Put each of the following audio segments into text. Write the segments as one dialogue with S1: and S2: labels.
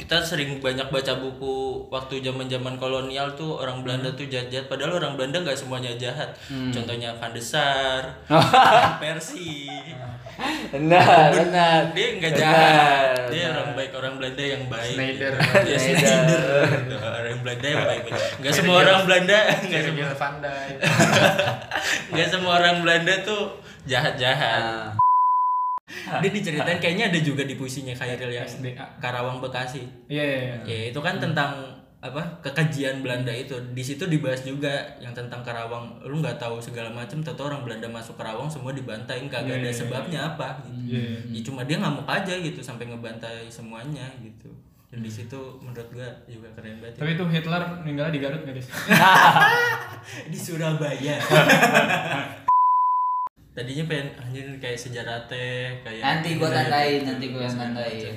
S1: kita sering banyak baca buku waktu zaman zaman kolonial tuh orang Belanda tuh jahat-jahat padahal orang Belanda nggak semuanya jahat
S2: Hmm.
S1: contohnya Van de Sar Persi
S2: Benar, benar.
S1: dia nggak
S2: Benar,
S1: jahat dia
S2: benar.
S1: orang baik orang Belanda yang baik
S3: Schneider.
S1: ya
S2: Schneider.
S1: Schneider Gitu. orang Belanda yang baik nggak semua orang Belanda nggak semua
S3: Virgil van Dijk.
S1: nggak semua orang Belanda tuh jahat-jahat
S2: Nah,
S1: dia diceritain kayaknya ada juga di puisinya Khairil yang
S3: SDA.
S1: Karawang Bekasi
S3: Iya, iya, iya.
S1: ya itu kan tentang apa kekejian Belanda itu di situ dibahas juga yang tentang Karawang lu nggak tahu segala macam tahu orang Belanda masuk Karawang semua dibantai nggak nggak ada
S3: Iya, iya,
S1: sebabnya apa gitu.
S3: Iya, iya.
S1: Ya, cuma dia ngamuk aja gitu sampai ngebantai semuanya gitu dan di situ menurut gua juga keren banget ya.
S3: Tapi itu Hitler meninggalnya di Garut nggak guys?
S1: di Surabaya tadinya pengen anjir kayak sejarah teh kayak
S2: nanti gua
S1: budaya
S2: tandain,
S1: gitu.
S2: nanti gua yang tandain.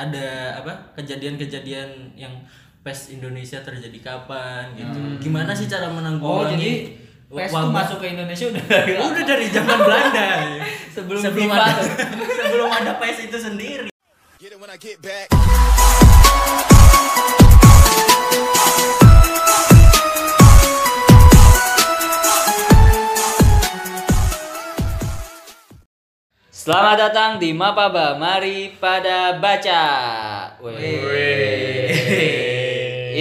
S1: ada apa kejadian-kejadian yang pes Indonesia terjadi kapan gitu. Gimana sih cara
S2: Oh,
S1: menanggulangi
S2: jadi PES tuh
S1: wabah?
S2: masuk ke Indonesia udah dari lama.
S1: udah dari zaman Belanda
S2: Sebelum FIFA.
S1: ada sebelum ada PES itu sendiri.
S4: Get it when I get back.
S2: Selamat datang di Mapaba. Mari pada baca. Weh.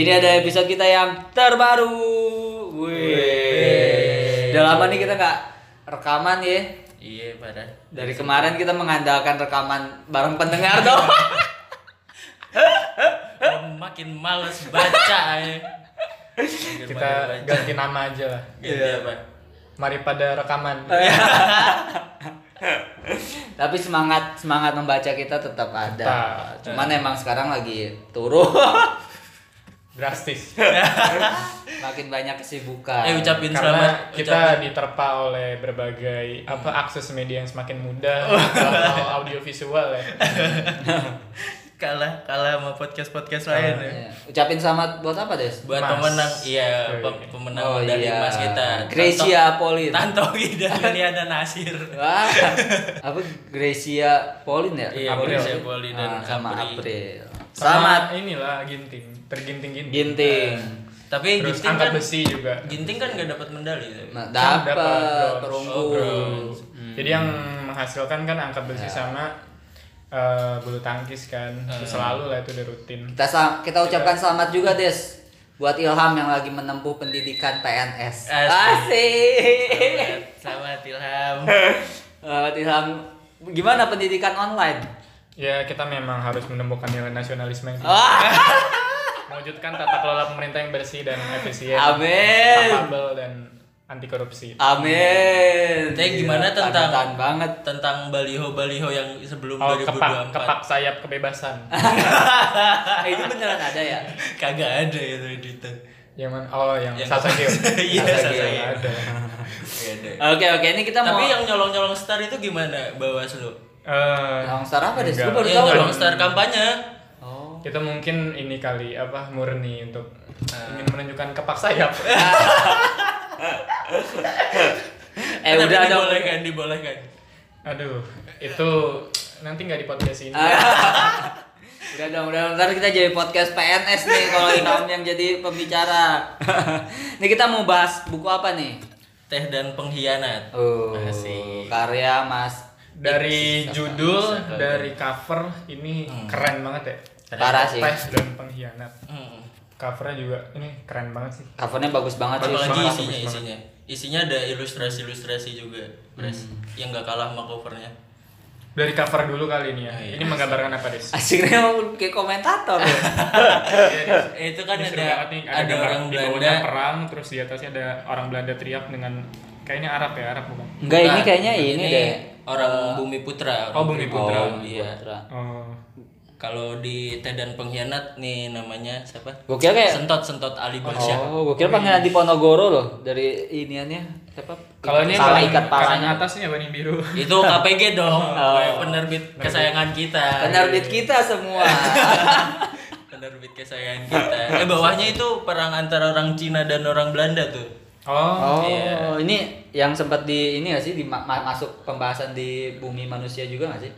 S2: Ini ada episode kita yang terbaru. Wih. Udah lama nih kita nggak rekaman ya.
S1: Iya, parah.
S2: Dari kemarin kita mengandalkan rekaman bareng pendengar dong.
S1: Gua makin males baca ya.
S3: Kita iya. ganti nama aja lah.
S1: Ganti apa?
S3: Mari pada rekaman.
S1: Oh, iya.
S2: Tapi semangat semangat membaca kita tetap ada.
S3: Tetap.
S2: Cuman emang sekarang lagi turun.
S3: Drastis.
S2: Makin banyak kesibukan.
S1: Eh ucapin selamat Hmm.
S3: Karena kita diterpa oleh berbagai apa akses media yang semakin mudah
S1: Oh.
S3: atau audio visual ya.
S1: ucapin kalah kalah sama podcast-podcast
S3: Ah,
S1: lain. ya.
S2: Iya. Ucapin selamat buat apa, Des? Oh, iya.
S1: Buat
S3: Mas.
S1: pemenang, iya,
S3: Oke. Oh, iya.
S1: pe- pemenang medali emas kita.
S2: Gracia Polin.
S1: Tantowi dan Liliana Nasir.
S2: Wah, apa Gracia Polin ya?
S1: Iya,
S2: April.
S1: Gracia Polin dan
S2: Ah, sama
S1: April.
S2: April. Selamat
S3: inilah ginting, terginting-ginting.
S2: Ginting.
S1: Tapi
S3: Terus
S1: Ginting
S3: angkat
S1: kan
S3: besi juga.
S1: Ginting kan gak dapat medali. tapi.
S2: Nah,
S3: Kan
S2: dapat
S3: bronze.
S2: perunggu.
S3: Oh, bronze. Jadi yang menghasilkan kan angkat besi
S1: Ya.
S3: sama eh, bulu tangkis kan.
S1: Eh.
S3: Selalu lah itu udah rutin.
S2: Kita sa- kita ucapkan selamat juga, Des. Buat Ilham yang lagi menempuh pendidikan PNS.
S1: Asik.
S2: Asik.
S1: Selamat Ilham.
S2: Selamat Ilham. Eh, Gimana pendidikan online?
S3: Ya kita memang harus menemukan nilai nasionalisme yang tinggi.
S1: Ah.
S2: Wah,
S3: mewujudkan tata kelola pemerintah yang bersih dan efisien,
S2: amin.
S3: capable dan anti korupsi.
S2: Amin.
S1: Tapi gimana tentang-
S2: Tantangan banget.
S1: Tentang baliho-baliho yang sebelum
S3: Oh,
S1: 2024
S3: kepak, kepak sayap kebebasan.
S2: Ah, ini beneran ada ya?
S1: kagak ada itu editan.
S3: yang mana? Oh, yang,
S1: Yang-
S3: Sasaki.
S1: Iya,
S2: Sasaki.
S1: Sasaki.
S3: Ada.
S1: Kagak ada.
S2: Oke, oke. Ini kita mau
S1: Tapi yang nyolong-nyolong star itu gimana bawas lu?
S3: Eh,
S2: Nyolong star apa, Des? Lu
S3: enggak.
S2: baru
S1: Yang
S2: Oh, tahu
S1: nyolong star kampanye.
S2: Oh.
S3: Kita mungkin ini kali apa murni untuk eh,
S1: Hmm.
S3: ingin menunjukkan ya. kepak sayap.
S2: Eh
S1: Tapi
S2: udah ada
S1: dibolehkan, dibolehkan.
S3: Aduh, itu nanti nggak di podcast ini.
S1: Ah.
S2: udah dong, udah dong. Ntar kita jadi podcast PNS nih kalau Ilham yang jadi pembicara. Nih kita mau bahas buku apa nih?
S1: Teh dan pengkhianat.
S2: Oh,
S1: Makasih.
S2: karya Mas
S3: Dari
S2: Iksis.
S3: judul, dari cover ini keren banget ya.
S2: Parah sih.
S3: Tes dan pengkhianat.
S1: Hmm.
S3: Covernya juga ini keren banget sih.
S2: Covernya bagus banget sih.
S1: Apalagi isinya,
S3: banget, bagus banget.
S1: isinya. Isinya ada ilustrasi-ilustrasi juga, Pres.
S3: Hmm.
S1: Yang gak kalah sama covernya.
S3: Dari cover dulu kali ini ya.
S1: Iya.
S3: Ini menggambarkan apa, Des?
S2: Asiknya mau kayak komentator ya.
S1: Eh, itu kan
S3: Ini seru
S1: ada
S3: banget nih,
S1: ada
S3: gambar-
S1: orang
S3: di bawahnya
S1: Belanda
S3: perang terus di atasnya ada orang Belanda teriak dengan kayaknya Arab ya Arab bukan
S2: Enggak, ini kayaknya ini, deh.
S1: orang Bumi Putra. orang
S3: Oh, Bumi Putra.
S1: Bumi iya.
S2: Putra.
S3: oh
S1: Kalau di Teh dan Pengkhianat nih namanya siapa?
S2: Gua kira
S3: Eh.
S2: kayak
S1: Sentot Sentot Ali Basyah.
S2: Oh, gue kira pangeran Diponegoro loh dari iniannya siapa?
S3: kalau ini
S2: salah
S3: paling-
S2: ikat
S3: paling
S2: parahnya.
S3: atasnya warna biru
S1: Itu KPG dong,
S3: Oh.
S1: penerbit kesayangan kita.
S2: Penerbit kita semua.
S1: Penerbit kesayangan kita. Eh bawahnya itu perang antara orang Cina dan orang Belanda tuh.
S3: oh
S2: Oh, ini yang sempat di ini gak sih di ma- ma- masuk pembahasan di bumi manusia juga gak sih?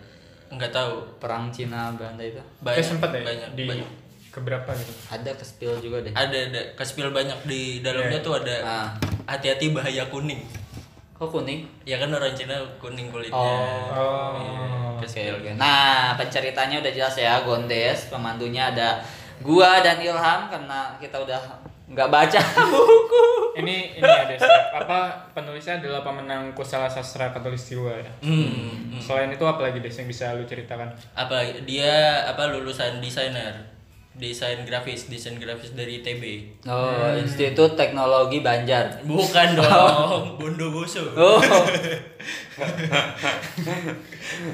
S1: nggak tahu
S2: perang Cina Belanda itu
S1: banyak
S3: eh, sempet ya
S1: banyak
S3: di
S1: banyak
S3: keberapa gitu
S2: ada ke spill juga deh
S1: ada ada kespil banyak di dalamnya
S3: Iya.
S1: tuh ada
S2: Ah.
S1: hati-hati bahaya kuning
S2: kok kuning
S1: ya kan orang Cina kuning kulitnya
S2: Oh.
S3: oh
S1: Kespil.
S2: Nah, penceritanya udah jelas ya, Gondes, pemandunya ada gua dan Ilham karena kita udah nggak baca buku.
S3: Oh, ini ini ada sih. apa penulisnya adalah pemenang kusala sastra katulistiwa ya
S1: Hmm.
S3: selain itu apa lagi Des yang bisa lu ceritakan
S1: apa dia apa lulusan desainer desain grafis desain grafis dari ITB
S2: Oh, Institut Teknologi Banjar.
S1: bukan dong Bondowoso
S2: Oh,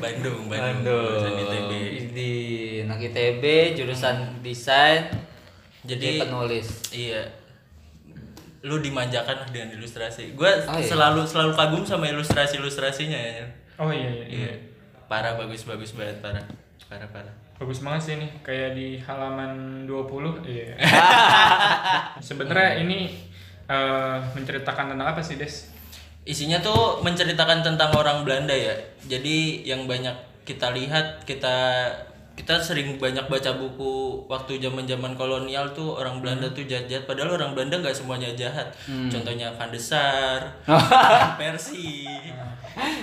S1: Bandung Bandung lulusan ITB
S2: Aduh. Di anak ITB jurusan desain jadi
S1: Jadi-
S2: penulis.
S1: iya lu dimanjakan lah dengan ilustrasi gue
S2: Oh, iya.
S1: selalu selalu kagum sama ilustrasi ilustrasinya ya
S3: oh iya iya, iya.
S1: iya parah bagus bagus banget parah parah parah
S3: bagus banget sih ini kayak di halaman 20 iya sebenarnya ini eh, menceritakan tentang apa sih Des
S1: isinya tuh menceritakan tentang orang Belanda ya jadi yang banyak kita lihat kita kita sering banyak baca buku waktu zaman zaman kolonial tuh orang Belanda tuh jahat jahat padahal orang Belanda nggak semuanya jahat contohnya Van de Sar Persi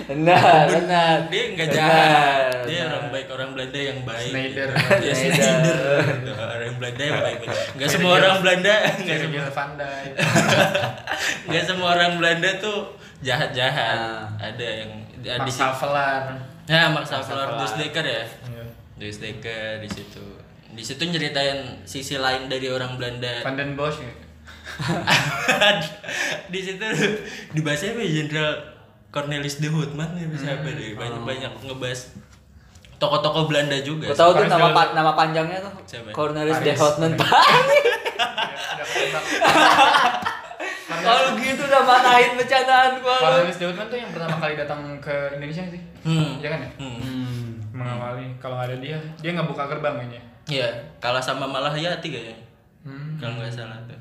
S2: Benar, benar.
S1: dia nggak
S2: Benar,
S1: jahat dia orang baik orang Belanda yang baik
S3: Schneider.
S1: ya,
S2: Schneider.
S1: Schneider. Gitu. orang Belanda yang baik nggak semua orang Belanda nggak semua
S3: Virgil van Dijk
S1: nggak semua orang Belanda tuh jahat jahat ada yang Iya, di
S3: Max Havelaar
S1: Nah, Max Havelaar Dus Dekker ya.
S3: Hmm.
S1: Dus Dekker di situ. Di situ nyeritain sisi lain dari orang Belanda.
S3: Van den Bosch ya?
S1: di situ dibahasnya apa ya, Jenderal Cornelis de Houtman ya bisa
S3: Hmm.
S1: apa deh
S3: Oh.
S1: banyak-banyak ngebahas tokoh-tokoh Belanda juga.
S2: Gua tahu tuh
S3: Paris
S2: nama
S3: Hilton.
S2: pa- nama panjangnya tuh.
S1: Siapa?
S2: Cornelis de
S3: Paris.
S2: Houtman Paris.
S3: Ada ketembak.
S2: Kalau gitu udah matahin bercandaan gua. lu.
S3: Cornelis de Houtman tuh yang pertama kali datang ke Indonesia sih
S1: Hmm.
S3: Iya kan ya?
S1: Hmm.
S3: Mengawali, kalau nggak ada dia, dia nggak buka gerbang kayaknya
S1: Iya, kalah sama Malahayati kayaknya.
S3: Hmm.
S1: Kalau nggak salah tuh.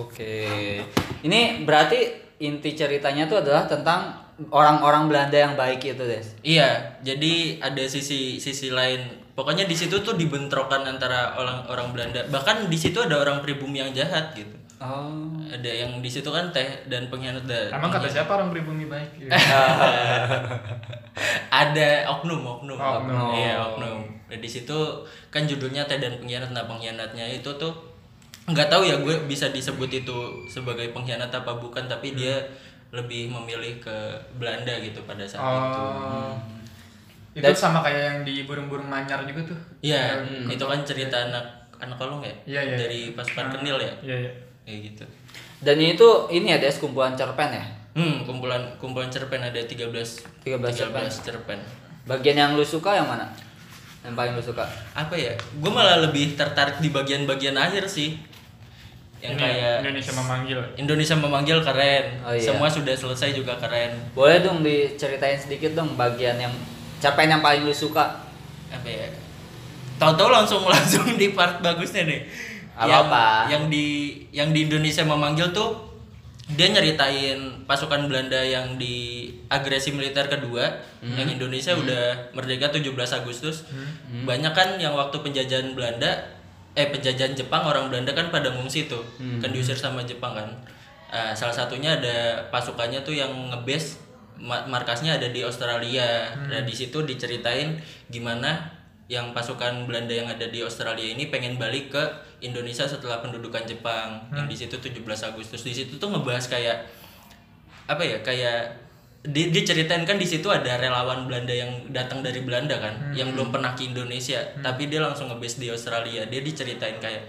S2: Oke. Ini berarti inti ceritanya tuh adalah tentang orang-orang Belanda yang baik itu, Des.
S1: Iya, jadi ada sisi sisi lain. Pokoknya di situ tuh dibentrokan antara orang orang Belanda. Bahkan di situ ada orang pribumi yang jahat gitu.
S2: Oh.
S1: ada yang di situ kan teh dan pengkhianat da- iya.
S3: Emang kata siapa orang pribumi baik? Iya.
S1: ada oknum oknum
S3: Oknum. Oh.
S1: iya oknum Nah, di situ kan judulnya teh dan pengkhianat nah pengkhianatnya itu tuh nggak tahu ya gue bisa disebut itu sebagai pengkhianat apa bukan
S3: Hmm.
S1: tapi dia lebih memilih ke Belanda gitu pada saat itu
S3: Oh. Itu sama kayak yang di burung-burung manyar juga tuh.
S1: Iya, itu kan cerita anak anak kolong ya
S3: Hmm. Iya, iya,
S1: dari pasukan kenil ya
S3: Iya, iya.
S1: kayak gitu
S2: Dan itu ini ya, Des, kumpulan cerpen ya.
S1: hmm kumpulan kumpulan cerpen ada 13
S2: 13 cerpen.
S1: 13 cerpen
S2: Bagian yang lu suka yang mana? Yang paling lu suka?
S1: apa ya gue malah lebih tertarik di bagian-bagian akhir sih yang
S3: Ini
S1: kayak
S3: Indonesia memanggil.
S1: Indonesia memanggil keren
S2: Oh, iya.
S1: semua sudah selesai juga keren
S2: Boleh dong diceritain sedikit dong bagian yang cerpen yang paling lu suka.
S1: apa ya tahu-tahu langsung langsung di part bagusnya nih
S2: Apa
S1: yang
S2: apa.
S1: yang di yang di Indonesia memanggil tuh dia nyeritain pasukan Belanda yang di agresi militer kedua yang Indonesia udah merdeka 17 Agustus banyak kan yang waktu penjajahan Belanda eh penjajahan Jepang orang Belanda kan pada ngungsi tuh kan diusir sama Jepang kan Eh, salah satunya ada pasukannya tuh yang ngebase ma- markasnya ada di Australia. Nah, di situ diceritain gimana yang pasukan Belanda yang ada di Australia ini pengen balik ke Indonesia setelah pendudukan Jepang. Yang di situ 17 Agustus. Di situ tuh ngebahas kayak apa ya? Kayak di dia ceritain kan di situ ada relawan Belanda yang datang dari Belanda kan, yang belum pernah ke Indonesia, tapi dia langsung ngebase di Australia. Dia diceritain kayak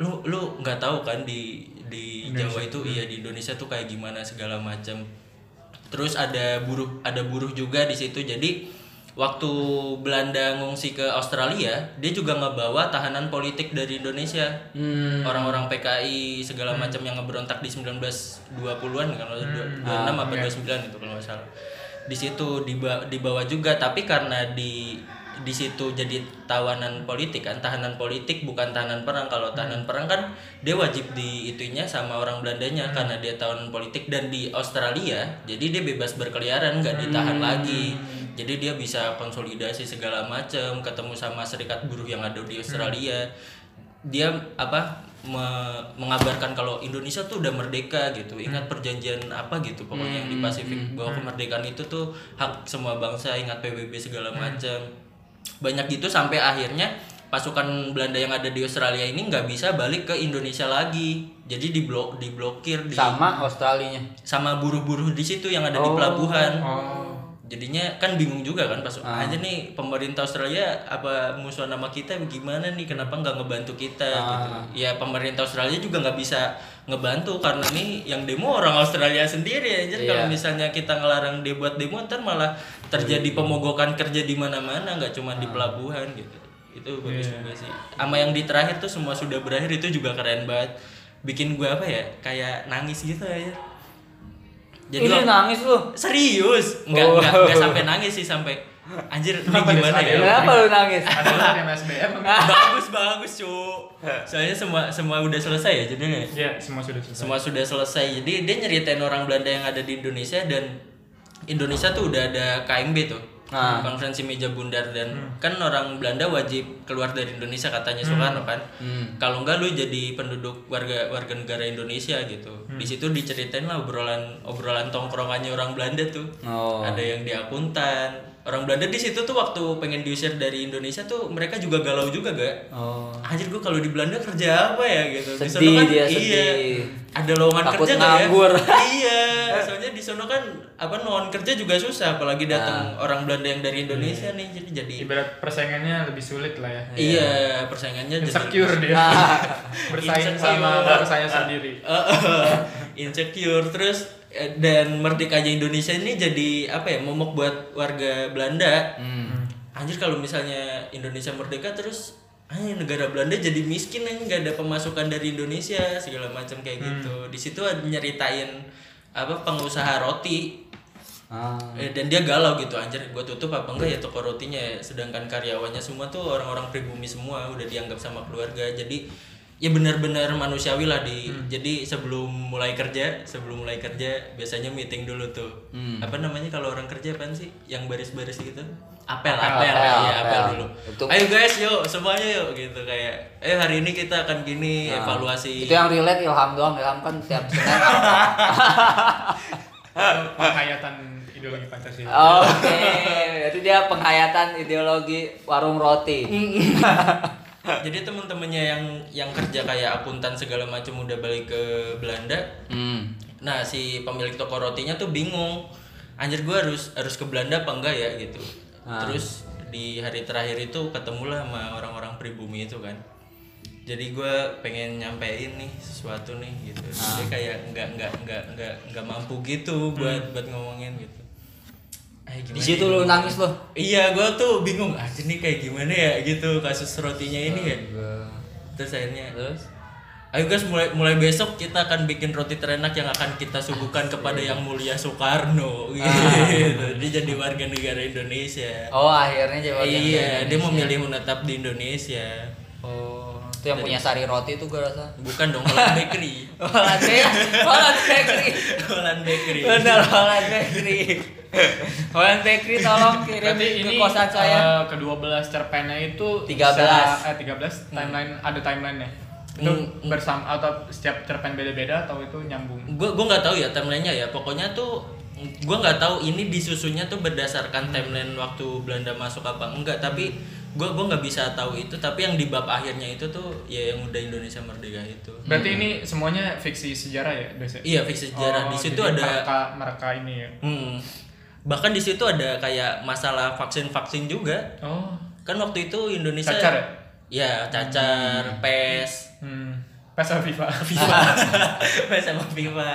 S1: lu lu nggak tahu kan di di Jawa itu iya di Indonesia tuh kayak gimana segala macam terus ada buruh ada buruh juga di situ jadi waktu Belanda ngungsi ke Australia dia juga ngebawa tahanan politik dari Indonesia orang-orang PKI segala macam yang ngeberontak di 1920-an kalau hmm. 26 apa 29 itu kalau nggak salah di situ diba- dibawa juga tapi karena di di situ jadi tawanan politik kan tahanan politik bukan tahanan perang kalau tahanan perang kan dia wajib di itunya sama orang Belandanya karena dia tahanan politik dan di Australia jadi dia bebas berkeliaran nggak ditahan lagi Jadi dia bisa konsolidasi segala macam, ketemu sama serikat buruh yang ada di Australia. Dia apa me- mengabarkan kalau Indonesia tuh udah merdeka gitu. Ingat perjanjian apa gitu pokoknya yang di Pasifik bahwa kemerdekaan itu tuh hak semua bangsa, ingat PBB segala macam. Banyak gitu sampai akhirnya pasukan Belanda yang ada di Australia ini nggak bisa balik ke Indonesia lagi. Jadi diblok diblokir di
S2: sama Australinya
S1: sama buruh-buruh di situ yang ada di pelabuhan. Jadinya kan bingung juga kan pas aja nih pemerintah Australia apa musuh nama kita gimana nih kenapa nggak ngebantu kita gitu. Ya pemerintah Australia juga nggak bisa ngebantu karena nih yang demo orang Australia sendiri aja kalau misalnya kita ngelarang dia buat demo ntar malah terjadi
S3: Iya.
S1: pemogokan kerja di mana-mana nggak cuma
S3: Nah.
S1: di pelabuhan gitu. Itu bagus
S3: Iya.
S1: juga sih. Sama yang di terakhir tuh semua sudah berakhir itu juga keren banget. Bikin gua apa ya? Kayak nangis gitu aja.
S2: ini
S1: waktu-
S2: nangis lu
S1: Serius? Enggak, enggak, enggak sampai nangis sih sampai anjir ini
S3: Oh. Kenapa dia
S1: gimana ya?
S3: sadar?
S2: kenapa lu nangis
S3: Ada lu dari MSBM?
S1: bagus bagus cu soalnya semua semua udah selesai ya jadinya
S3: Iya, semua sudah selesai.
S1: semua sudah selesai jadi dia nyeritain orang Belanda yang ada di Indonesia dan Indonesia tuh udah ada KMB tuh
S2: Nah.
S1: konferensi meja bundar dan kan orang Belanda wajib keluar dari Indonesia katanya Soekarno kan
S2: Hmm.
S1: kalau enggak lu jadi penduduk warga warga negara Indonesia gitu di situ diceritain lah obrolan obrolan tongkrongannya orang Belanda tuh
S2: oh
S1: ada yang di akuntan orang Belanda di situ tuh waktu pengen diusir dari Indonesia tuh mereka juga galau juga gak
S2: oh
S1: anjir gue kalau di Belanda kerja apa ya gitu Di sono
S2: Sedih
S1: kan,
S2: dia,
S1: iya,
S2: sedih.
S1: ada lowongan
S2: Takut
S1: kerja nggak
S2: nganggur.
S1: ya iya soalnya di sono kan apa lowongan kerja juga susah apalagi datang
S2: Nah.
S1: orang Belanda yang dari Indonesia
S2: Iya.
S1: nih jadi jadi
S3: Ibarat persaingannya lebih sulit lah ya.
S1: iya persaingannya
S3: Insecure dia. Bersaing sama
S1: Insecure.
S3: bangsa sendiri.
S1: Eh, insecure terus eh, dan merdekanya Indonesia ini jadi apa ya momok buat warga Belanda
S2: Hmm.
S1: anjir kalau misalnya Indonesia merdeka terus anjir negara Belanda jadi miskin anjir nggak ada pemasukan dari Indonesia segala macam kayak gitu di situ ada nyeritain apa pengusaha roti
S2: ah.
S1: Eh, dan dia galau gitu anjir gue tutup apa enggak ya toko rotinya ya. sedangkan karyawannya semua tuh orang-orang pribumi semua udah dianggap sama keluarga jadi ya benar-benar manusiawi lah di
S2: Hmm.
S1: jadi sebelum mulai kerja sebelum mulai kerja biasanya meeting dulu tuh
S2: Hmm.
S1: apa namanya kalau orang kerja apaan sih yang baris-baris gitu apel apel, ya,
S2: Apel, apel,
S1: ya, apel
S2: apel.
S1: dulu
S2: Itu-
S1: ayo guys yuk semuanya yuk gitu kayak eh hari ini kita akan gini evaluasi
S2: Nah. itu ya. yang relate Ilham doang Ilham kan tiap Senin
S3: Atau Penghayatan ideologi Pancasila.
S2: Oh, oke berarti dia penghayatan ideologi warung roti
S1: jadi teman-temannya yang yang kerja kayak akuntan segala macam udah balik ke Belanda
S2: hmm.
S1: Nah si pemilik toko rotinya tuh bingung, anjir gue harus harus ke Belanda apa enggak ya gitu.
S2: Ah.
S1: Terus di hari terakhir itu ketemulah sama orang-orang pribumi itu kan. Jadi gue pengen nyampein nih sesuatu nih gitu.
S2: Ah.
S1: Jadi kayak nggak nggak nggak nggak nggak mampu gitu buat buat ngomongin gitu. Eh, gimana
S2: Hmm. di situ
S1: ya?
S2: lu nangis lu
S1: Iya gue tuh bingung anjir nih kayak gimana ya gitu kasus rotinya ini ya. Terus akhirnya
S2: terus
S1: Ayo guys mulai mulai besok kita akan bikin roti terenak yang akan kita suguhkan kepada yang mulia Soekarno
S2: Ah.
S1: gitu. dia jadi warga negara Indonesia.
S2: oh akhirnya jadi warga negara
S1: iya, dia
S2: Indonesia.
S1: memilih menetap di Indonesia.
S2: oh itu yang punya sari roti itu gue rasa
S1: Bukan dong Holland Bakery.
S2: Holland Bakery Holland Bakery
S1: Holland Bakery.
S2: bener Holland Bakery Holland Bakery tolong kirim
S3: Berarti
S2: ke
S3: ini
S2: kosan saya
S3: ke-12 cerpennya itu
S2: 13.
S3: bisa- eh
S1: Hmm.
S3: 13 timeline ada timeline-nya. Itu bersama atau setiap cerpen beda-beda atau itu nyambung?
S1: Gue gue nggak tahu ya timelinenya ya. Pokoknya tuh gue nggak tahu ini disusunnya tuh berdasarkan timeline waktu Belanda masuk apa enggak. Tapi gue gue nggak bisa tahu itu. Tapi yang di bab akhirnya itu tuh ya yang udah Indonesia merdeka itu.
S3: Berarti ini semuanya fiksi sejarah ya, Des?
S1: Hmm. Iya, fiksi sejarah.
S3: Oh,
S1: di situ
S3: jadi
S1: ada
S3: mereka mereka ini ya.
S1: Hmm. Bahkan di situ ada kayak masalah vaksin-vaksin juga.
S3: Oh.
S1: Kan waktu itu Indonesia
S3: Cacar ya?
S1: Iya, cacar, pes,
S3: Hmm. Pas Viva.
S1: FIFA, pes sama FIFA,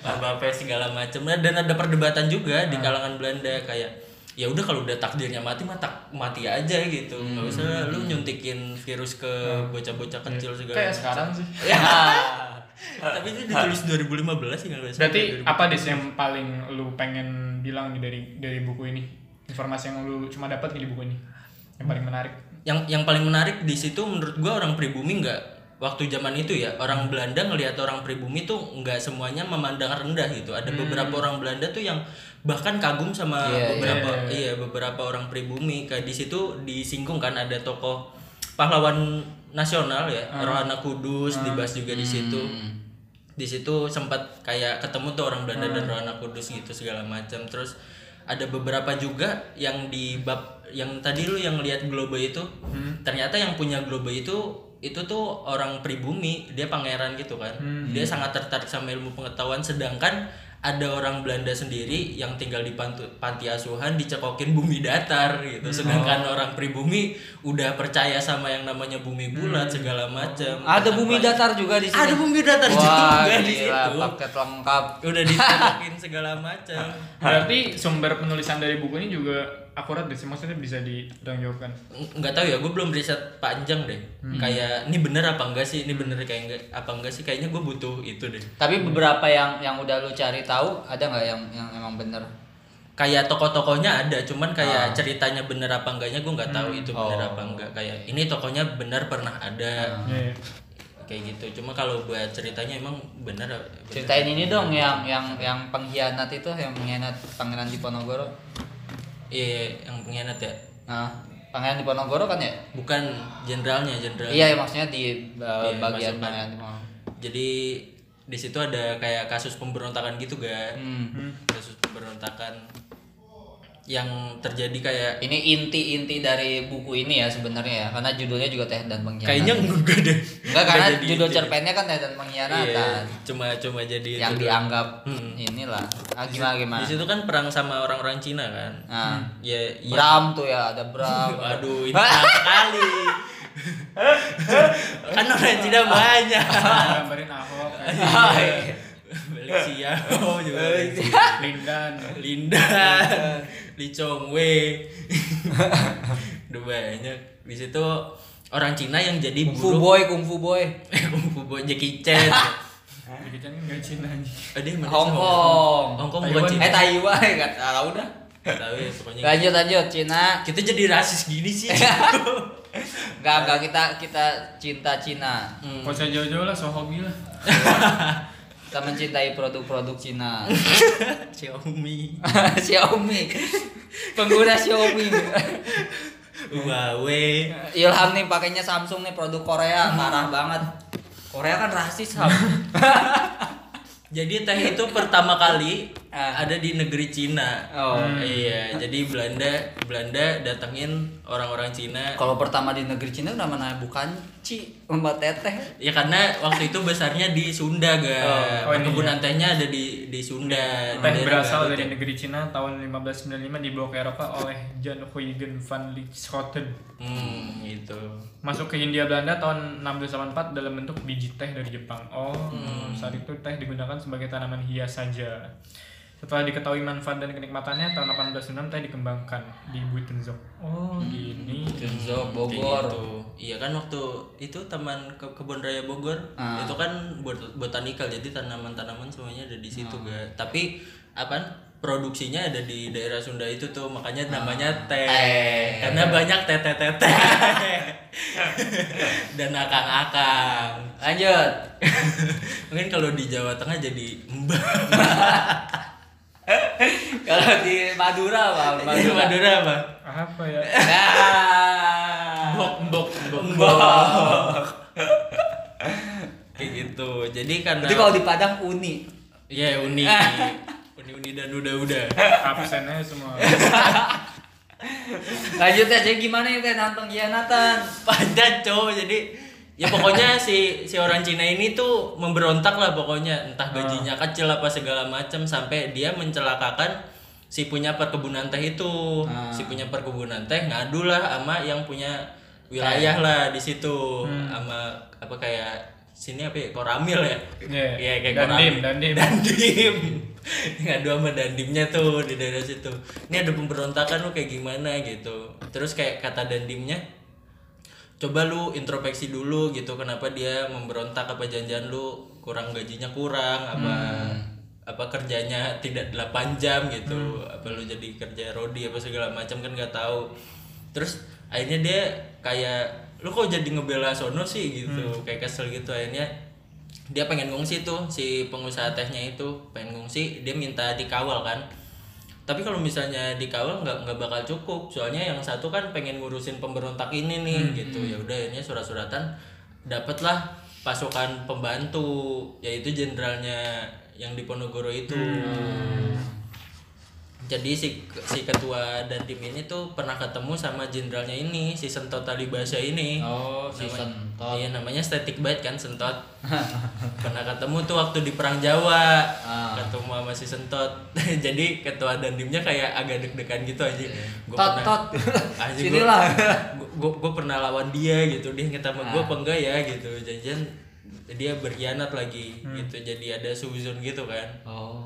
S1: laba pes segala macam. Nah, dan ada perdebatan juga di kalangan Belanda kayak ya udah kalau udah takdirnya mati mah tak- mati aja gitu. nggak usah lu nyuntikin virus ke bocah-bocah kecil segala
S3: Kayak
S1: macam.
S3: sekarang sih.
S1: Ya. Tapi itu ditulis 2015 sih kalau nggak salah.
S3: Berarti apa Des yang paling lu pengen bilang nih dari dari buku ini? Informasi yang lu cuma dapat di buku ini. Yang paling menarik.
S1: yang yang paling menarik di situ menurut gua orang pribumi nggak waktu zaman itu ya
S2: Hmm.
S1: orang Belanda ngelihat orang pribumi tuh nggak semuanya memandang rendah gitu. Ada beberapa orang Belanda tuh yang bahkan kagum sama
S2: Hmm. Iya,
S1: beberapa iya beberapa orang pribumi. Kayak di situ disinggung kan ada tokoh pahlawan nasional ya,
S2: Hmm.
S1: Rohana Kudus dibahas juga di situ. Di situ sempat kayak ketemu tuh orang Belanda dan Rohana Kudus gitu segala macam. Terus ada beberapa juga yang di bab yang tadi lu yang lihat globe itu ternyata yang punya globe itu itu tuh orang pribumi dia pangeran gitu kan dia sangat tertarik sama ilmu pengetahuan sedangkan ada orang Belanda sendiri yang tinggal di pantu- panti asuhan dicekokin bumi datar gitu sedangkan orang pribumi udah percaya sama yang namanya bumi bulat segala macam
S2: Ada bumi datar juga di sini.
S1: ada bumi datar
S2: Wah,
S1: juga di
S2: gila,
S1: situ
S2: paket lengkap.
S1: udah dicekokin segala macam
S3: Berarti sumber penulisan dari buku ini juga akurat deh sih, maksudnya bisa dipertanggungjawabkan.
S1: nggak tahu ya gue belum riset panjang deh kayak ini bener apa enggak sih ini bener kayak enggak apa enggak sih kayaknya gue butuh itu deh
S2: Tapi beberapa yang yang udah lu cari tahu ada nggak yang yang emang bener?
S1: kayak tokoh-tokohnya ada cuman kayak ceritanya bener apa enggaknya gue nggak tahu itu bener apa enggak kayak ini tokohnya bener pernah ada
S3: Iya. iya.
S1: kayak gitu cuma kalau buat ceritanya emang bener, bener.
S2: Ceritain ini dong yang yang yang pengkhianat itu yang pengkhianat Pangeran Diponegoro.
S1: iya yang pengkhianat ya
S2: Nah, Pangeran Diponegoro kan ya?
S1: bukan jenderalnya jenderal
S2: Iya, ya, maksudnya di uh,
S1: Iya,
S2: bagian
S1: masuk
S2: Pangeran Diponegoro.
S1: jadi di situ ada kayak kasus pemberontakan gitu ga
S2: Hmm.
S1: kasus pemberontakan yang terjadi kayak
S2: Ini inti-inti dari buku ini ya sebenarnya ya, karena judulnya juga Teh dan Pengkhianat.
S1: kayaknya enggak deh
S2: Enggak karena
S1: jadi
S2: judul
S1: inti.
S2: cerpennya kan Teh dan Pengkhianatan.
S1: Iya, cuma cuma jadi
S2: Yang
S1: judul.
S2: dianggap
S1: Hmm.
S2: inilah. Ah, gimana gimana?
S1: di situ kan perang sama orang-orang Cina kan
S2: Nah,
S1: ya iya
S2: Bram tuh ya, ada Bram.
S1: aduh ini perang sekali kan orang Cina banyak
S3: Gambarin Ahok, kayak
S1: balik siapa oh, juga Malaysia.
S3: Lindan.
S1: Linda, Lee Chong Wei, udah banyak. Di situ orang Cina yang jadi
S2: Kungfu
S1: buruk,
S2: Boy, Kungfu Boy.
S1: kungfu boy Jackie Chan.
S3: Jadi kan nggak Cina anjing.
S1: Eh, dia mana sih?
S2: Hong Kong.
S1: Hong Kong bukan
S3: Taiwan.
S1: Cina.
S2: Eh Taiwan enggak salah udah.
S1: Nggak tahu ya pokoknya.
S2: Lanjut lanjut Cina.
S1: Kita jadi rasis gini sih.
S2: Enggak enggak kita kita cinta Cina.
S1: Iya. Hmm.
S3: Kau saya jauh-jauh lah, Sohobi lah.
S2: Kita mencintai produk-produk Cina.
S1: Xiaomi,
S2: Xiaomi. Pengguna Xiaomi.
S1: Huawei.
S2: Ilham nih pakainya Samsung nih produk Korea
S1: Hmm.
S2: parah banget. Korea kan rasis Ham.
S1: Jadi teh itu pertama kali eh,
S2: Ah.
S1: ada di negeri Cina.
S2: Oh.
S3: Hmm.
S1: Iya, jadi Belanda Belanda datengin orang-orang Cina.
S2: Kalau pertama di negeri Cina namanya bukan Ci, Mbak Teteh.
S1: Ya karena waktu itu besarnya di Sunda, ga.
S3: Oh, oh, ini
S1: Perkebunan tehnya ada di di Sunda. di
S3: Teh
S1: daerah
S3: berasal
S1: Garut
S3: dari
S1: ya.
S3: negeri Cina tahun 1595 dibawa ke Eropa oleh Jan Huygen van Lieshoten.
S1: Hmm, gitu.
S3: Masuk ke Hindia Belanda tahun 1684 dalam bentuk biji teh dari Jepang. Oh,
S1: Hmm.
S3: saat itu teh digunakan sebagai tanaman hias saja. Setelah diketahui manfaat dan kenikmatannya, tahun 1806 teh dikembangkan di Buitenzorg. Oh,
S1: Hmm.
S3: gini.
S1: Kayak
S2: Kenzo Bogor.
S1: gitu. Iya kan waktu itu taman ke kebun raya Bogor
S2: Ah.
S1: itu kan bot- botanikal jadi tanaman-tanaman semuanya ada di situ ga. Tapi apa produksinya ada di daerah Sunda itu tuh makanya namanya teh. Karena banyak teh-teh-teh dan akang-akang.
S2: Lanjut.
S1: Mungkin kalau di Jawa Tengah jadi mbak.
S2: Kalau di Madura apa?
S1: Madura.
S2: Madura.
S1: Madura apa?
S3: Apa ya?
S2: Nah.
S1: Mbok, mbok, mbok, Kayak gitu. Jadi karena
S2: Jadi kalau di Padang uni.
S1: Iya, uni. Uni-uni dan udah-udah.
S3: Absennya semua.
S2: Lanjut ya, jadi gimana ya teh tentang pengkhianatan?
S1: Padat cowok jadi ya pokoknya si si orang Cina ini tuh memberontak lah pokoknya entah gajinya
S3: Ah.
S1: kecil apa segala macam sampai dia mencelakakan si punya perkebunan teh itu
S3: Ah.
S1: si punya perkebunan teh ngadu lah sama yang punya wilayah lah di situ
S3: Hmm.
S1: sama apa kayak sini apa ya koramil ya
S3: Iya.
S1: Iya, kayak
S3: Dandim,
S1: koramil.
S3: dandim.
S1: dandim ngadu sama dandimnya tuh di daerah situ ini ada pemberontakan lu kayak gimana gitu terus kayak kata dandimnya coba lu introspeksi dulu gitu kenapa dia memberontak apa janjian lu kurang gajinya kurang apa apa kerjanya tidak 8 jam gitu apa lu jadi kerja rodi apa segala macam kan nggak tahu terus akhirnya dia kayak lu kok jadi ngebela sono sih gitu kayak kesel gitu akhirnya dia pengen ngungsi tuh si pengusaha tehnya itu pengen ngungsi dia minta dikawal kan tapi kalau misalnya dikawal nggak nggak bakal cukup soalnya yang satu kan pengen ngurusin pemberontak ini nih gitu ya udah akhirnya surat-suratan dapatlah pasukan pembantu yaitu jenderalnya yang di Ponegoro itu jadi si si ketua dan tim ini tuh pernah ketemu sama jenderalnya ini si Sentot Talibasa ini
S4: Oh, si sentot.
S1: Iya namanya static bite kan sentot. Pernah ketemu tuh waktu di perang Jawa. Ketemu sama si sentot. Jadi ketua dandimnya kayak agak deg-degan gitu aja. Gua
S2: Tot, tot.
S1: Anjing,
S2: Sinilah.
S1: Gua, gua, gua pernah lawan dia gitu. Dia inget sama gua apa enggak ya gitu. Janjian dia berkhianat lagi gitu. Jadi ada suzon gitu kan.
S4: Oh.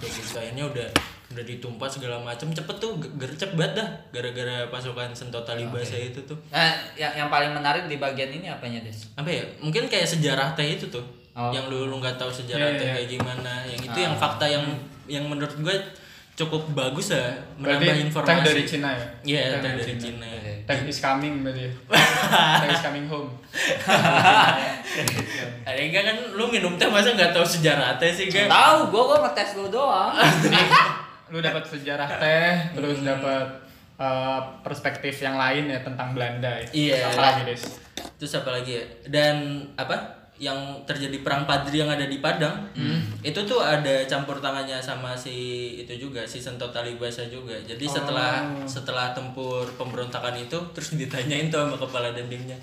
S1: Kayak gitu akhirnya udah udah ditumpas segala macam cepet tuh ge- gercep banget dah gara-gara pasukan sentot Talibasa itu tuh
S2: Nah, yang, yang paling menarik di bagian ini apanya, Des?
S1: apa ya mungkin kayak sejarah teh itu tuh
S4: Oh.
S1: yang dulu lu nggak tahu sejarah
S3: Iya,
S1: teh
S3: iya,
S1: kayak gimana yang itu yang fakta yang yang menurut gue cukup bagus ya menambah
S3: Berarti
S1: informasi
S3: teh dari Cina ya?
S1: iya
S3: Teh
S1: teh
S3: dari
S1: dari
S3: Cina.
S1: Cina,
S3: Tech is coming berarti. Tech is coming home.
S1: ada enggak kan lu minum teh masa nggak tahu sejarah teh sih kan
S2: Tahu, gua gua ngetes lu doang.
S3: Lu dapat sejarah teh, terus
S1: Hmm.
S3: dapat eh, perspektif yang lain ya tentang Belanda ya.
S1: Iya.
S3: Terus Apa lagi, Des?
S1: terus apa lagi ya dan apa yang terjadi perang Padri yang ada di Padang itu tuh ada campur tangannya sama si itu juga si Sentot Talibasa juga jadi setelah setelah tempur pemberontakan itu terus ditanyain tuh sama kepala dendimnya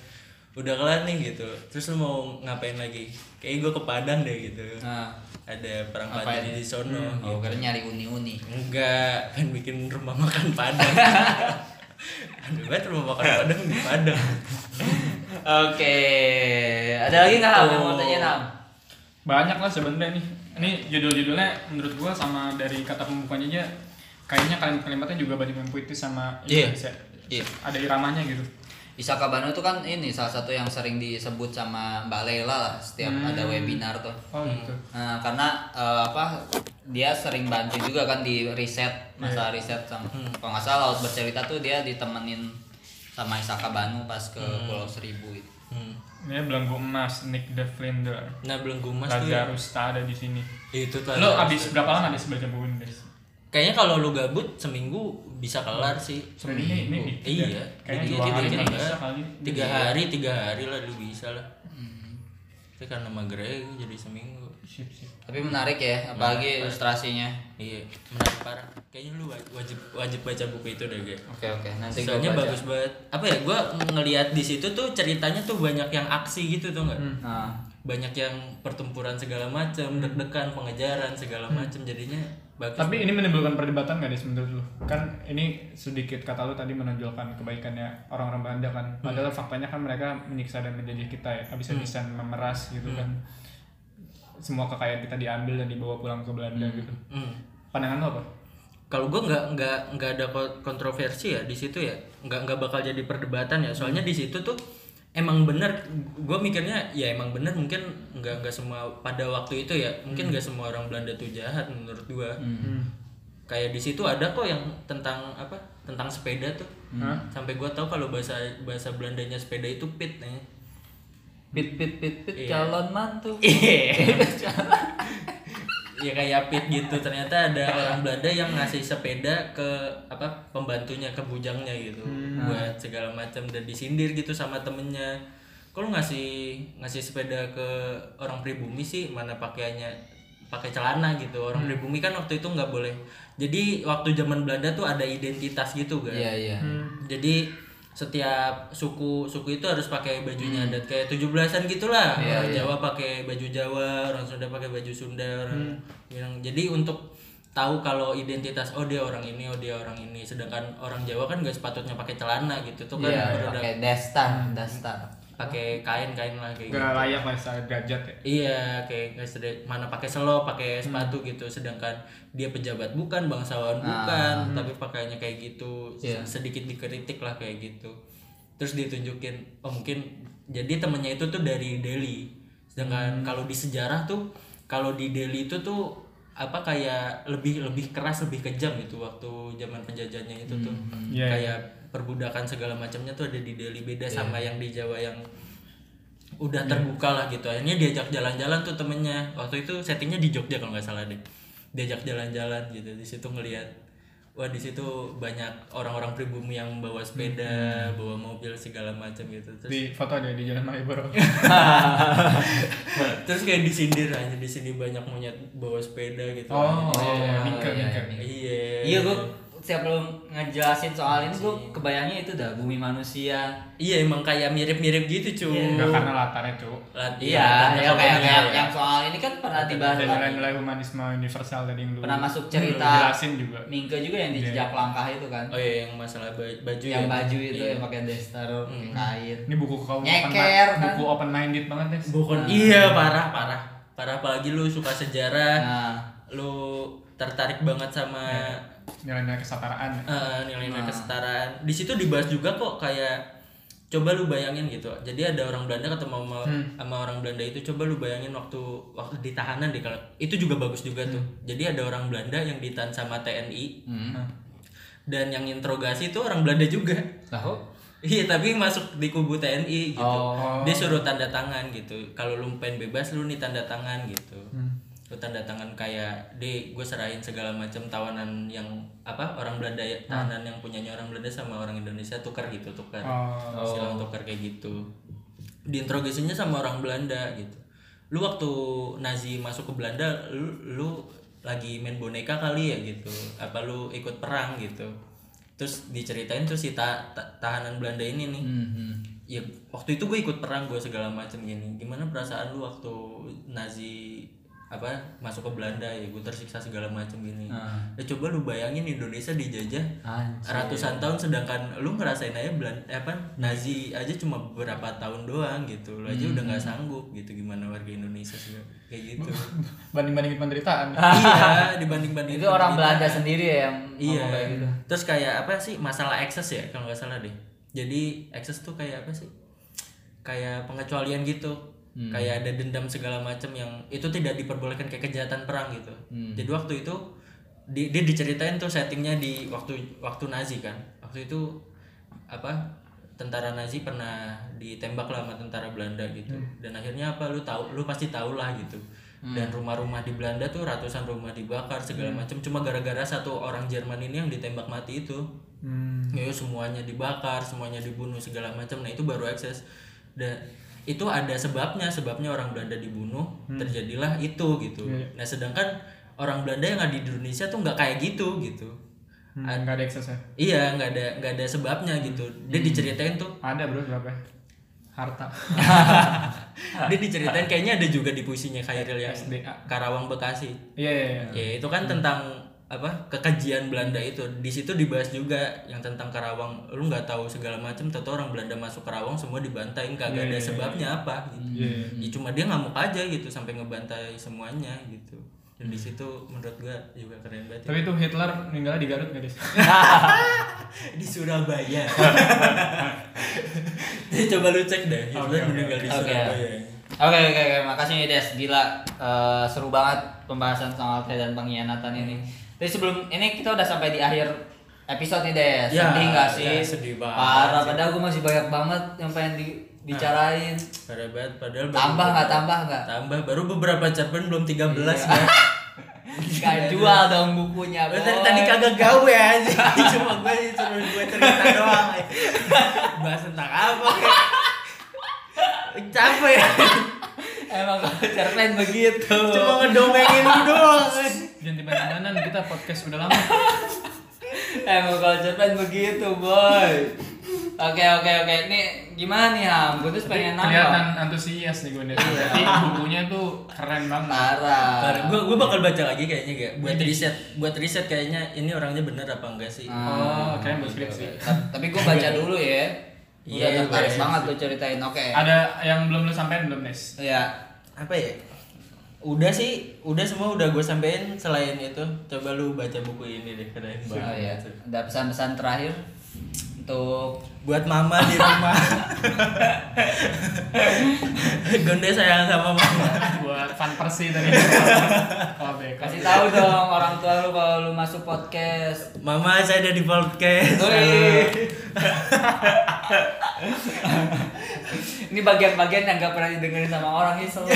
S1: udah kelar nih gitu terus lu mau ngapain lagi kayak gue ke Padang deh gitu
S2: Nah,
S1: ada perang
S2: Ngapain?
S1: Padri di sono gitu.
S2: oh, kira nyari uni-uni.
S1: enggak kan bikin rumah makan Padang ada banget rumah makan Padang di Padang
S2: Oke, ada lagi nggak Ham yang mau tanya Ham?
S3: Banyak lah sebenarnya nih. Ini judul-judulnya menurut gua sama dari kata pembukanya aja kayaknya kalimat-kalimatnya juga banyak yang puitis sama
S1: Iya.
S3: Indonesia.
S1: Iya.
S3: Ada iramanya gitu.
S2: Isaka Bano itu kan ini salah satu yang sering disebut sama Mbak Lela lah setiap ada webinar tuh.
S3: Oh gitu.
S2: Nah, karena eh, apa dia sering bantu juga kan di riset masa riset sama kalau nggak salah laut bercerita tuh dia ditemenin sama Isaka Banu pas ke Pulau Seribu gitu. itu.
S1: Hmm.
S3: Ini belenggu emas Nick the Flinders.
S1: Nah belenggu emas tuh ya.
S3: Lazarus tak ada di sini.
S1: Itu tuh.
S3: Lo abis berapa lama abis baca buku ini? Des?
S1: Kayaknya kalau lu gabut seminggu bisa kelar sih.
S3: Seminggu ini dikit ya.
S1: Iya.
S3: Kayaknya
S1: dikit,
S3: dua
S1: dikit,
S3: hari
S1: dikit,
S3: nggak
S1: enggak.
S3: bisa kali.
S1: Tiga hari, tiga hari lah lu bisa lah. Hmm. Tapi karena magre jadi seminggu.
S3: Sip sip.
S2: Tapi menarik ya, apalagi ilustrasinya.
S1: Iya, menarik parah. Kayaknya lu wa- wajib wajib baca buku itu deh, gue.
S2: Oke oke, nanti gua
S1: Soalnya
S2: baca.
S1: bagus banget. Apa ya? Gua ngelihat di situ tuh ceritanya tuh banyak yang aksi gitu tuh
S3: Hmm.
S1: enggak?
S2: Nah,
S1: Banyak yang pertempuran segala macam, deg-degan, pengejaran segala macam jadinya bagus.
S3: Hmm. Tapi ini menimbulkan perdebatan gak Des menurut lu? Kan ini sedikit kata lu tadi menonjolkan kebaikannya orang-orang Belanda kan. Padahal faktanya kan mereka menyiksa dan menjajah kita ya. Habis-habisan memeras gitu kan. Semua kekayaan kita diambil dan dibawa pulang ke Belanda gitu.
S1: Hmm.
S3: Pandangan lu apa?
S1: kalau gue nggak nggak nggak ada ko- kontroversi ya di situ ya nggak nggak bakal jadi perdebatan ya soalnya di situ tuh emang bener gue mikirnya ya emang bener mungkin nggak nggak semua pada waktu itu ya mungkin nggak semua orang Belanda tuh jahat menurut gue
S3: Hmm.
S1: kayak di situ ada kok yang tentang apa tentang sepeda tuh sampai gue tahu kalau bahasa bahasa Belandanya sepeda itu pit nih
S2: pit pit pit pit calon mantu.
S1: ya kayak pit gitu ternyata ada orang Belanda yang ngasih sepeda ke apa pembantunya ke bujangnya gitu buat segala macam dan disindir gitu sama temennya kalau ngasih ngasih sepeda ke orang pribumi sih mana pakaiannya pakai celana gitu orang pribumi kan waktu itu nggak boleh jadi waktu zaman Belanda tuh ada identitas gitu kan
S2: Iya iya.
S1: jadi setiap suku suku itu harus pakai bajunya
S2: Hmm.
S1: adat kayak 17-an gitulah.
S2: Iya,
S1: orang Jawa pakai baju Jawa, orang Sunda pakai baju Sunda, orang
S2: Hmm.
S1: bilang. Jadi untuk tahu kalau identitas oh dia orang ini, oh dia orang ini. Sedangkan orang Jawa kan gak sepatutnya pakai celana gitu tuh kan
S2: Iya,
S1: produk-
S2: pakai dastar, dastar.
S1: pakai kain-kain lah kayak gitu.
S3: Gak layak lah secara derajat ya.
S1: Iya, kayak nggak sedek- mana pakai selo, pakai sepatu gitu, sedangkan dia pejabat bukan, bangsawan bukan, tapi pakainya kayak gitu, Se- sedikit dikritik lah kayak gitu. Terus ditunjukin, oh mungkin jadi temennya itu tuh dari Delhi, sedangkan kalau di sejarah tuh, kalau di Delhi itu tuh apa kayak lebih lebih keras, lebih kejam gitu waktu zaman penjajahnya itu tuh,
S3: Iya,
S1: kayak perbudakan segala macamnya tuh ada di Delhi beda sama yang di Jawa yang udah
S3: Iya.
S1: terbuka lah gitu akhirnya diajak jalan-jalan tuh temennya waktu itu settingnya di Jogja kalau nggak salah deh diajak jalan-jalan gitu di situ ngelihat wah di situ banyak orang-orang pribumi yang bawa sepeda bawa mobil segala macam gitu terus
S3: Hmm. di foto ada di Jalan Malioboro
S1: terus kayak disindir aja di sini banyak monyet bawa sepeda gitu
S3: oh,
S1: Akhirnya,
S3: iya,
S2: iya,
S3: Mika
S2: iya,
S3: Mika
S2: iya.
S1: iya
S2: Iya gue siap belum ngejelasin soal ini gue kebayangnya itu dah bumi manusia.
S1: Iya emang kayak mirip-mirip gitu cuy.
S3: Iya, Nggak karena latarnya tuh
S2: Iya, ya, kayak, kayak yang soal ini kan pernah dibahas
S3: dan
S2: lagi.
S3: nilai-nilai humanisme universal tadi yang dulu
S2: Pernah masuk
S3: lu
S2: cerita.
S3: jelasin juga
S2: Mingke juga yang di jejak langkah itu kan.
S1: Oh iya yang masalah ba- baju
S2: yang
S1: ya.
S2: baju itu
S1: Iya.
S2: yang pakai daster, pakai kain.
S3: ini buku kau open
S2: Nyeker, kan?
S3: buku open minded banget deh
S1: Bukan iya parah parah. Parah apalagi lu suka sejarah,
S2: Nah,
S1: lu tertarik banget sama
S3: nilai-nilai kesetaraan
S1: eh, nilai-nilai kesetaraan. Di situ dibahas juga kok kayak coba lu bayangin gitu. Jadi ada orang Belanda ketemu sama, sama orang Belanda itu coba lu bayangin waktu waktu di tahanan di kalau itu juga bagus juga tuh. Jadi ada orang Belanda yang ditahan sama TNI
S2: Nah, hmm.
S1: dan yang interogasi itu orang Belanda juga.
S2: tahu?
S1: Iya tapi masuk di kubu TNI gitu.
S2: Oh.
S1: Dia suruh tanda tangan gitu. Kalau lu pengen bebas lu nih tanda tangan gitu. Lu tanda tangan kayak deh gue serahin segala macam tawanan yang apa orang Belanda ya, tawanan yang punyanya orang Belanda sama orang Indonesia tukar gitu tukar.
S3: Oh.
S1: Silang tukar kayak gitu. Diinterogasinya sama orang Belanda gitu. Lu waktu Nazi masuk ke Belanda lu, lu lagi main boneka kali ya gitu. Apa lu ikut perang gitu. Terus diceritain tuh si ta- ta- tahanan Belanda ini
S2: Hmm.
S1: nih ya waktu itu gue ikut perang gue segala macam gini gimana perasaan lu waktu Nazi apa masuk ke Belanda ya gue tersiksa segala macam gini ya coba lu bayangin Indonesia dijajah
S2: Anjir.
S1: ratusan tahun sedangkan lu ngerasain aja Belanda apa Nazi aja cuma beberapa tahun doang gitu lu aja udah
S2: Hmm.
S1: nggak sanggup gitu gimana warga Indonesia sih kayak gitu
S3: banding-bandingin penderitaan
S1: iya dibanding banding
S2: Itu orang Belanda sendiri ya yang
S1: Iya.
S2: ngomong kayak gitu.
S1: Terus kayak apa sih masalah akses ya kalau nggak salah deh. Jadi akses tuh kayak apa sih? Kayak pengecualian gitu.
S2: Hmm.
S1: Kayak ada dendam segala macam yang itu tidak diperbolehkan kayak kejahatan perang gitu.
S2: Hmm.
S1: Jadi waktu itu di- dia diceritain tuh settingnya di waktu waktu Nazi kan. Waktu itu apa tentara Nazi pernah ditembak lah sama tentara Belanda gitu. Dan akhirnya apa lu tahu lu pasti tahu lah gitu. Dan rumah-rumah di Belanda tuh ratusan rumah dibakar segala macam cuma gara-gara satu orang Jerman ini yang ditembak mati itu.
S3: Hmm.
S1: Ya semuanya dibakar, semuanya dibunuh segala macam. Nah, itu baru akses. Dan itu ada sebabnya, sebabnya orang Belanda dibunuh, terjadilah itu gitu. Nah, sedangkan orang Belanda yang ada di Indonesia tuh nggak kayak gitu gitu.
S3: Hmm, nggak ada eksesnya
S1: Iya, nggak ada nggak ada sebabnya gitu.
S3: Hmm.
S1: Dia diceritain tuh,
S3: ada bro berapa harta
S1: dia diceritain kayaknya ada juga di puisinya Khairil yang
S3: Iya. SDA.
S1: Karawang Bekasi.
S3: iya iya iya
S1: Ya, itu kan tentang apa kekejian Belanda itu. Di situ dibahas juga yang tentang Karawang. Lu nggak tahu segala macam, tahu orang Belanda masuk Karawang semua dibantai, nggak nggak
S3: Iya,
S1: ada
S3: iya,
S1: sebabnya apa gitu.
S3: Iya.
S1: Ya, cuma dia ngamuk aja gitu sampai ngebantai semuanya gitu. Dan di situ menurut gua juga keren banget. ya.
S3: tapi itu Hitler meninggalnya di Garut nggak Dis?
S1: di Surabaya. Jadi coba lu cek deh, Hitler meninggal di
S2: oke.
S1: Surabaya.
S2: Oke oke oke, makasih nih Des, gila Eh, seru banget pembahasan soal teh dan pengkhianatan ini. Tapi sebelum ini kita udah sampai di akhir episode nih Des,
S1: Ya,
S2: sedih gak sih?
S1: ya, sedih banget
S2: Parah,
S1: sih. Nah.
S2: padahal gue masih banyak banget yang pengen dibicarain.
S1: Parah banget, padahal baru-
S2: Tambah nggak tambah nggak?
S1: Tambah baru beberapa cerpen belum 13 ya.
S2: Gak jual dong bukunya.
S1: Lu
S2: boy.
S1: tadi, tadi kagak gawe aja Iya, cuma gue cuma gue cerita doang bahas tentang apa kayak capek
S2: Emang kalau cerpen begitu.
S1: cuma ngedomengin lu doang
S3: jangan dimana-mana kita podcast udah lama
S2: Emang kalau cerpen begitu, boy. Oke oke oke. Ini gimana nih Ham? Gue tuh pengen
S3: kelihatan
S2: nambah.
S3: antusias nih gue Des. berarti bukunya tuh keren banget
S2: Parah.
S1: gue gue bakal baca lagi kayaknya kayak buat riset buat riset kayaknya ini orangnya bener apa enggak sih
S3: oh keren buat skripsi
S2: Ta- Tapi gue baca dulu ya. Iya,
S1: Iya,
S2: tertarik
S1: iya.
S2: banget tuh ceritain. Oke.
S3: ada yang belum lu sampein belum Des?
S2: Iya.
S1: apa ya udah sih udah semua udah gue sampein selain itu coba lu baca buku ini deh keren
S2: Oh,
S1: banget
S2: iya. Ada pesan-pesan terakhir? untuk
S1: buat mama di rumah. Gonde sayang sama mama.
S3: buat fan persi tadi. Oh, Callback.
S2: kasih tahu dong orang tua lu kalau lu masuk podcast.
S1: Mama saya ada di podcast.
S2: Wih. Ini bagian-bagian yang gak pernah didengerin sama orang ini selalu.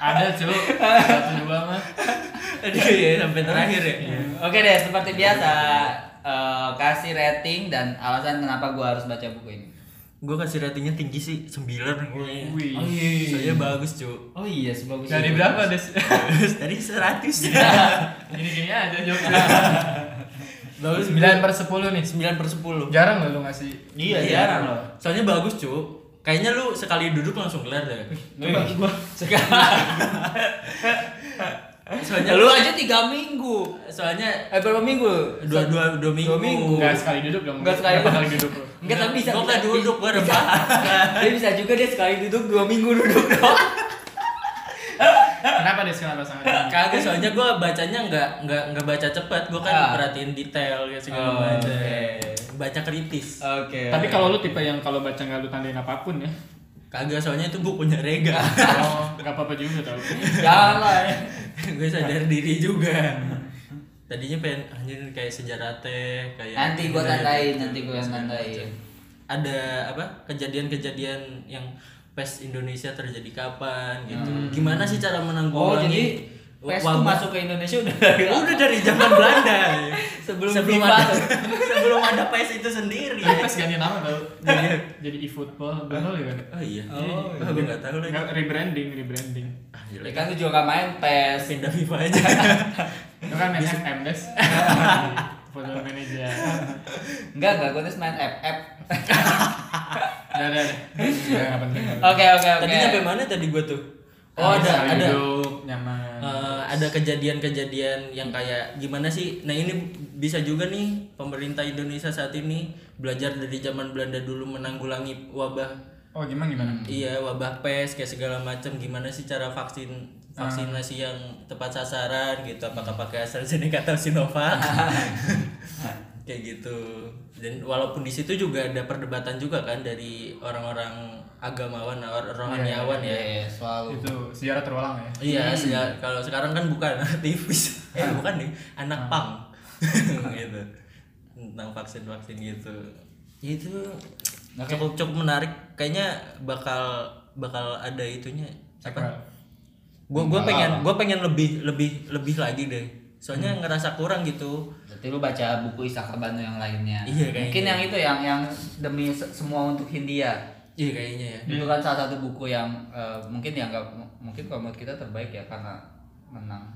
S3: Ada cuy. Satu dua mah.
S1: Aduh ya sampai terakhir ya.
S2: Oke deh, seperti biasa eh, kasih rating dan alasan kenapa gua harus baca buku ini.
S1: Gue kasih ratingnya tinggi sih 9
S3: Wih.
S1: Soalnya bagus cu
S2: Oh iya, sebagus
S3: Dari
S2: itu.
S3: berapa des?
S1: Tadi 100
S3: Gini gini aja jawabnya.
S1: Bagus
S3: Sembilan per sepuluh nih.
S1: 9 per 10
S3: Jarang loh lu ngasih.
S1: Iya jarang loh Soalnya bagus cu Kayaknya lu sekali duduk langsung kelar deh
S3: Coba gua.
S1: Soalnya
S2: Lu
S1: lu
S2: aja tiga minggu.
S1: Soalnya
S2: Eh berapa minggu?
S1: dua, dua, dua minggu
S2: minggu.
S3: Enggak sekali duduk dong.
S2: Enggak sekali
S3: Berapa kali duduk lu?
S2: Enggak tapi bisa.
S1: Gua nggak
S2: bisa-
S1: duduk, gua
S2: bisa. Dia bisa juga dia sekali duduk dua minggu duduk dong.
S3: Oh, Kenapa des kenapa sangat?
S1: Kagak soalnya gua bacanya nggak nggak nggak baca cepat Gua kan
S2: Ah.
S1: perhatiin detail ya segala
S2: Oh,
S1: macam
S2: oke.
S1: Baca kritis
S2: Oke.
S3: Tapi kalau lu tipe yang kalau baca nggak lu tandain apapun ya.
S1: Kagak soalnya itu bukunya Rega
S3: Oh, nggak apa-apa juga tau.
S2: jalan.
S1: Gue sadar diri juga Tadinya pengen anjir kayak sejarah teh kayak
S2: Nanti gua
S1: budaya
S2: tandain,
S1: gitu,
S2: nanti gua yang
S1: segala
S2: tandain.
S1: macam. Ada apa? Kejadian-kejadian yang pes Indonesia terjadi kapan gitu. Gimana sih cara
S2: Hmm. Oh,
S1: menanggulangi
S2: jadi PES tuh
S1: wabah?
S2: masuk ke Indonesia udah
S1: udah dari zaman Belanda.
S2: Sebelum
S1: sebelum
S2: FIFA.
S1: ada sebelum ada PES itu sendiri.
S3: Tapi
S2: kan
S3: pas
S2: ya?
S3: ganti nama tau. Jadi e-football, benar ya kan?
S1: Oh iya.
S2: Oh,
S1: Oh, gue enggak tahu lagi.
S3: Nggak, Rebranding, rebranding.
S1: Ah,
S2: Ya
S1: jelek.
S2: kan lu juga gak main PES.
S1: Pindah FIFA aja.
S3: Itu kan main FM des. Football manager.
S2: Enggak, enggak gua tuh main FF.
S3: Udah, udah, udah. Nggak penting.
S2: Oke, oke, oke.
S1: Tadi sampai mana tadi gua tuh? Oh,
S3: Oh,
S1: ada ada
S3: Duduk, nyaman.
S1: Eh, ada kejadian-kejadian yang kayak gimana sih? Nah ini bisa juga nih pemerintah Indonesia saat ini belajar dari zaman Belanda dulu menanggulangi wabah,
S3: Oh, gimana gimana?
S2: Hmm.
S1: iya wabah pes kayak segala macam. Gimana sih cara vaksin vaksinasi
S2: Ah.
S1: yang tepat sasaran gitu? Apakah pakai AstraZeneca atau Sinovac? kayak gitu. Dan walaupun di situ juga ada perdebatan juga kan dari orang-orang agamawan, or- rohaniawan ya.
S2: Iya, selalu.
S3: Itu sejarah terulang ya.
S1: Iya, sejak- kalau sekarang kan bukan aktivis. Eh, bukan nih, anak pang. gitu. Tentang vaksin-vaksin gitu. Ya itu cukup cukup menarik. Kayaknya bakal bakal ada itunya. Apa? Gua gua pengen gua pengen lebih lebih lebih lagi deh. Soalnya ngerasa kurang gitu.
S2: Berarti lu baca buku Isaka Banu yang lainnya.
S1: Iya, kayaknya.
S2: Mungkin yang itu yang yang demi se- semua untuk Hindia.
S1: Iya kayaknya ya.
S2: Itu kan salah satu buku yang eh, mungkin yang nggak mungkin kalau menurut kita terbaik ya karena menang.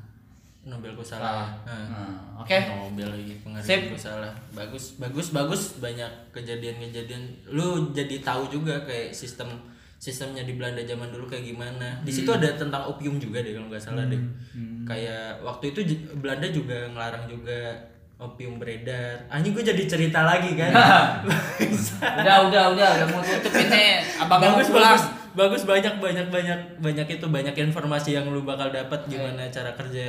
S1: Nobelku
S2: Ah.
S1: salah. Nah.
S2: Hmm, Oke.
S1: Nobel lagi
S2: Sip.
S1: penghargaan gue salah. Bagus, bagus, bagus banyak kejadian-kejadian. Lu jadi tahu juga kayak sistem sistemnya di Belanda zaman dulu kayak gimana. Di
S2: Hmm.
S1: situ ada tentang opium juga deh kalau nggak salah deh. Kayak waktu itu j- Belanda juga ngelarang juga opium beredar. Anjing gue jadi cerita lagi kan.
S2: Udah, udah, udah, udah mau tutup ini. Abang mau
S1: bagus,
S2: pulang.
S1: bagus, bagus banyak banyak banyak banyak itu banyak informasi yang lu bakal
S2: Iya.
S1: dapat gimana cara kerja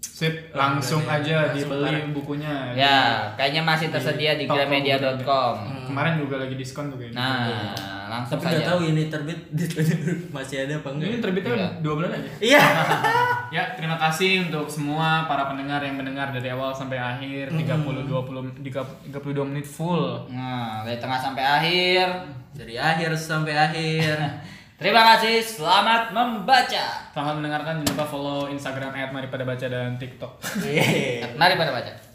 S3: Sip, Oh, langsung
S1: Udah, ya.
S3: aja
S1: Langsung
S3: dibeli
S1: parah.
S3: bukunya.
S2: Ya, kayaknya masih tersedia di
S3: toko
S2: gramedia.com.
S3: buku. Kemarin juga lagi diskon tuh kayaknya.
S2: Nah, langsung
S1: Tapi nggak
S2: saja.
S1: tahu ini terbit masih ada apa enggak.
S3: Ini terbitnya dua bulan aja.
S1: Iya.
S3: Ya, terima kasih untuk semua para pendengar yang mendengar dari awal sampai akhir 30 20 30 32 menit full.
S2: Nah, dari tengah sampai akhir.
S1: Dari akhir sampai akhir.
S2: Terima kasih, selamat membaca.
S3: Selamat mendengarkan, jangan lupa follow Instagram @maripada baca dan TikTok.
S2: Iya.
S1: Yeay.
S2: Mari pada baca.